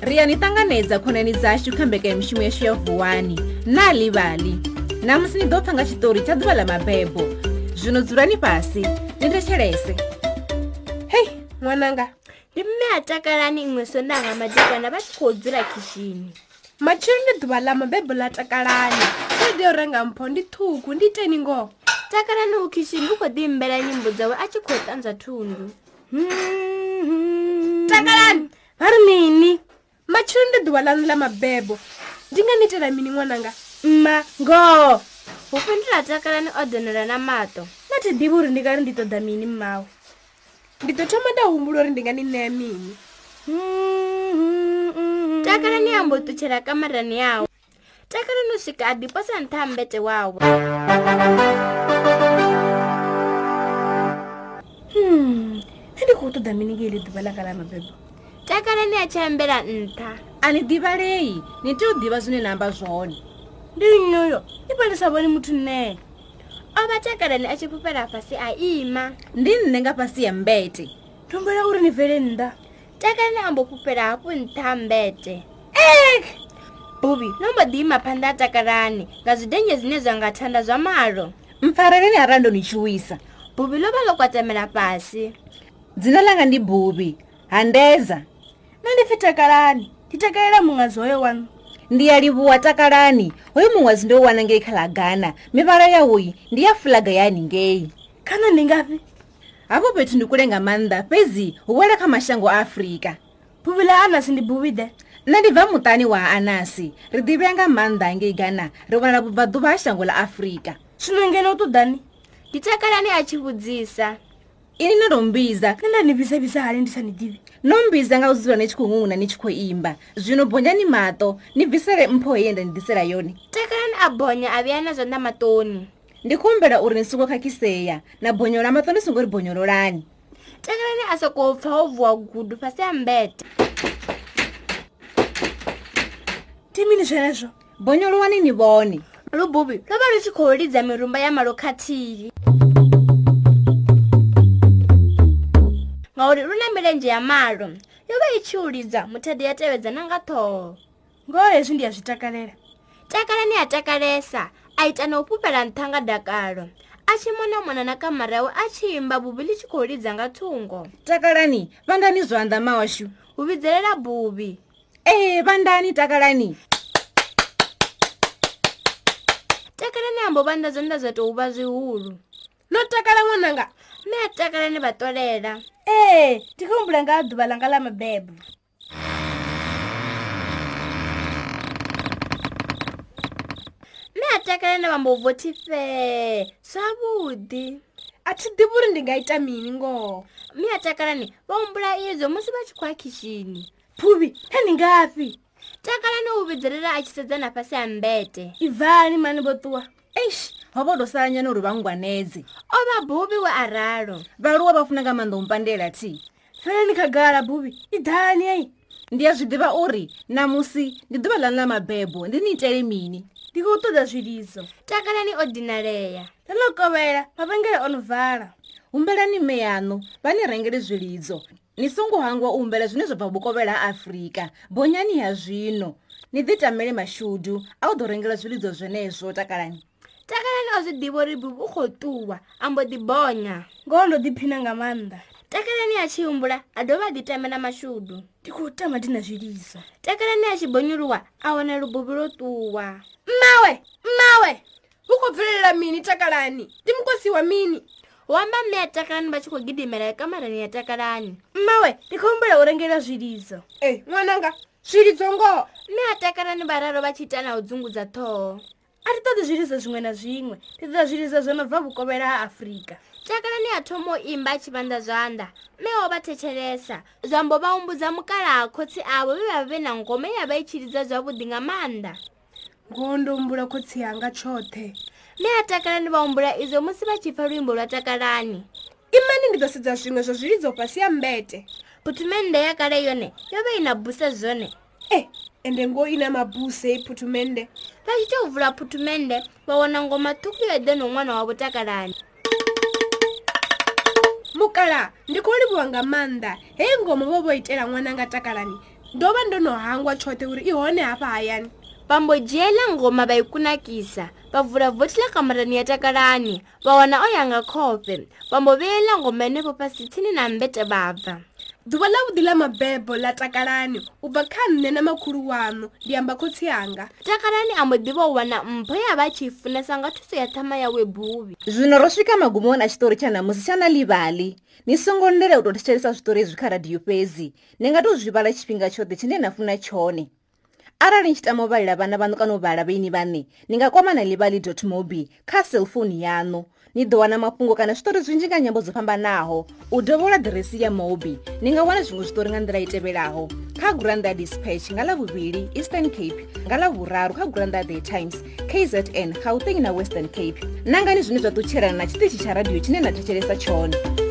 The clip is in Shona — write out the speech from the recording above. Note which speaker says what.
Speaker 1: ṱanganedza khonani dzashu kha mbekanyamushumo yashu ya vuwani na livhali namusi ni ḓo pfa nga tshiṱori tsha ḓuvha ḽa mabebo zwino dzulani fhasi ni thetshelese hei ṅwananga
Speaker 2: ndi mme a takalani iṅwe sonanga madekwana vha tshi khou dzula khishini
Speaker 1: matshelo ndi ḓuvha ḽa mabebo ḽa takalani tshelede yo renga mpho ndi ṱhukhu ndi iteni ngoho
Speaker 2: takalani u khishini u khou ḓiimbela nyimbo dzawe a tshi khou ṱanzwa thundu Hmm.
Speaker 1: takalani
Speaker 2: vha ri mini
Speaker 1: matshelo ndi ḓuvha ḽanu ḽa mabebo ndi nga ni itela mini ṅwananga
Speaker 2: mma ngoho hu fhindula takalani o donela na maṱo na thi ḓivhi uri ndi kari ndi ṱoḓa mini mmawe
Speaker 1: ndi ḓo thoma nda humbula uri ndi nga ni ṋea mini
Speaker 2: Hmm. takalani ambo ṱutshela kamarani yawe takalani u swika a ḓiposa nṱha ha mbete wawe
Speaker 1: Hmm, nṋe ndi khou ṱoḓa mini ngeili ḓuvha ḽa kala mabebo
Speaker 2: takalani a tshi ambela nṱha
Speaker 1: a ni ḓivhalei ni tea u ḓivha zwine na amba zwone
Speaker 2: ndi nnyi uyo i fhali sa vhoni muthu nnee o vha takalani a tshi fhufhela fhasi a ima
Speaker 1: ndi nṋe nga fhasi ya mbete
Speaker 2: ndi humbela uri ni bvele nnḓa takalani a mbo fhufhela hafhu nṱha ha mbete bubi no mbo ḓi ima phanḓa ha takalani nga zwidenye zwine zwa nga thanda zwa malo
Speaker 1: mpfareleni arali ndo ni tshuwisa
Speaker 2: bubi ḽo vha ḽo kwatamela fhasi
Speaker 1: dzina ḽanga ndi buvhi handedza
Speaker 2: nṋe ndi pfhi takalani ndi takalela muṅwadzi hoyo wanu
Speaker 1: ndi ya livhuwa takalani hoyu muṅwadzi ndo u wana ngei kha ḽa gana mivhala yawoyi ndi ya fulaga ya haningei
Speaker 2: kana ndi ngafhi
Speaker 1: hafho fhethu ndi kule nga maanḓa fhedzi hu wela kha mashango a afurika
Speaker 2: bubi ḽa anasi ndi buvide
Speaker 1: nṋe ndi bva muṱani wa anasi ri ḓivhea nga maanḓa ngei gana ri wanala vhubvaḓuvha ha shango ḽa afurika
Speaker 2: zwino ngeno u ṱoḓani ndi takalani a tshi vhudzisa
Speaker 1: ini no tou mbidza
Speaker 2: nṋe nda ni bvisabvisa hani ndi sa ni ḓivhi
Speaker 1: no mbidza nga u dzula ni tshi khou ṅuna ni tshi khou imba zwino bonyani maṱo ni bvisele mpho heye nda ni ḓisela yone
Speaker 2: takalani a bonya a vhuya na zwanḓa maṱoni
Speaker 1: ndi khou humbela uri ni songo khakhisea na bonyola maṱo ni songo ri bonyololani
Speaker 2: takalani a sokou pfha ho vuwa gudu fhasi ha mbete ndi mini zwenezwo
Speaker 1: bonyolowani ni vhone
Speaker 2: lububi lo vha lu tshi khou lidza mirumba ya malo khathihi ngauri lu na milenzhe ya malo yo vha i tshi u lidza muthadi ya tevhedza na nga ṱhoho ngoho hezwi ndi ya zwi takalela takalani ya takalesa a ita na u fhufhela nṱha nga dakalo a tshi mona mona na kamara yawe a tshi imba bubi ḽi tshi khou lidza nga thungo
Speaker 1: takalani vhandani zwanḓa mashu
Speaker 2: hu vhidzelela bubi
Speaker 1: ee vhandani takalani
Speaker 2: takalani ambo vhanḓa zwanḓa zwa tou vha zwihulu
Speaker 1: no takala ṅwananga
Speaker 2: mme a takalani vha ṱolela
Speaker 1: ee ndi khou humbula nga ha ḓuvha langa ḽa mabebo
Speaker 2: mme a takalani vha mbo vothi fee zwavhuḓi
Speaker 1: a thi ḓivhi uri ndi nga ita mini ngoho
Speaker 2: mme a takalani vha humbula izwo musi vha tshi khou ya khishini
Speaker 1: phuvhi heni ngafhi
Speaker 2: takalani u vhidzelela a tshi sedza na fhasi ha mbete
Speaker 1: i bvani mani vho ṱuwa eish ho vha tou salanyana uri vha ngwanedze
Speaker 2: o vha bubi we a ralo
Speaker 1: vhaaluwa vha funa nga maanḓa u mpandela thi
Speaker 2: feleni khagala bubi i ḓani ei
Speaker 1: ndi a zwi ḓivha uri namusi ndi ḓuvha ḽanu ḽa mabebo ndi ni itele mini
Speaker 2: ndi khou ṱoḓa zwilidzo takalani o dinalea ndo no kovhela mavhengele o no vala
Speaker 1: humbelani mme yanu vha ni rengele zwilidzo ni songo hangwa u humbela zwine zwa bva vhukovhela ha afurika bonyani ya zwino ni ḓitamele mashudu a u ḓo rengela zwilidzo zwenezwo takalani
Speaker 2: takalani o zwi ḓivha uri bubi u khou ṱuwa a mbo ḓi bonya
Speaker 1: ngoho ndo ḓiphina nga maanḓa
Speaker 2: takalani a tshi humbula a dovha a ḓitamela mashudu
Speaker 1: ndi khou tama ndi na zwilidzo
Speaker 2: takalani a tshi bonyuluwa a wana lububi lo ṱuwa
Speaker 1: mmawe mmawe hu khou bvelela mini takalani ndi mukosi wa mini
Speaker 2: hu amba mme ya takalani vha tshi khou gidimela kamarani ya takalani
Speaker 1: mmawe
Speaker 2: ndi khou humbula u rengela zwilidzo
Speaker 1: e ṅwananga zwilidzo ngoho
Speaker 2: mme ya takalani vhararo vha tshi ita na u dzungudza ṱhoho
Speaker 1: a thi ṱoḓi zwilidzo zwiṅwe na zwiṅwe ndi ṱoḓa zwilidzo zwo no bva vhukovhela ha afurika
Speaker 2: takalani a thoma u imba a tshi vhanḓa zwanḓa mme o vha thetshelesa zwambo vha humbudza mukalaha khotsi avho vhe vha vhe na ngoma ye ya vha i tshi lidza zwavhuḓi nga maanḓa
Speaker 1: ngoho ndo humbula khotsi yanga tshoṱhe
Speaker 2: mme ya takalani vha humbula izwo musi vha tshi pfa luimbo lwa takalani
Speaker 1: imani ndi ḓo sedza zwiṅwe zwa zwilidzo fhasi ya mbete
Speaker 2: phuthumennde ya kale yone yo vha i na busa zwone
Speaker 1: e ende ngoho i na mabuse i phuthumende
Speaker 2: vha tshi tou vula phuthumennde vha wana ngoma ṱhukhu yo eḓe no ṅwana wa vhotakalani
Speaker 1: mukala ndi khou livhuwa nga maanḓa heyi ngoma vho vho itela ṅwananga takalani
Speaker 3: ndo vha ndo no hangwa tshoṱhe uri i hone hafha hayani
Speaker 2: vha mbo dzhia iḽa ngoma vha i kunakisa vha vula vothi ḽa kamarani ya takalani vha wana o ya nga khofhe vha mbo vhea iḽa ngoma henefho fhasi tsini na mbete vha bva
Speaker 3: ḓuvha ḽavhuḓi ḽa mabebo ḽa takalani u bva kha nṋe na makhulu wanu ndi amba khotsi yanga
Speaker 2: takalani a mbo ḓivha u wana mpho ya vha tshi i funesa nga thuso ya ṱhama yawe buvhi
Speaker 1: zwino ro swika magumoni a tshiṱori tsha ṋamusi tsha na ḽivhali ni songo ndela u tou thetshelesa zwiṱori hezwi kha radiyo fhedzi ni nga tou zwi vhala tshifhinga tshoṱhe tshine na funa tshone arali ni tshi tama u vhalela vhana vhaṋu kana u vhala vheini vhaṋe ni nga kwamana ḽivhali dot mobi kha selfoni yaṋu ni ḓo wana mafhungo kana zwiṱori zwinzhi nga nyambo dzo fhambanaho u dovhola ḓiresi ya mobi ni nga wana zwiṅwe zwiṱori nga nḓila i tevhelaho kha gurannḓa dispatch nga ḽavhuvhili eastern cape nga ḽavhuraru kha gurannḓa the times kzn gauteng na western cape nangani zwine zwa ṱutshelana na tshiṱitshi tsha radio tshine na thetshelesa tshone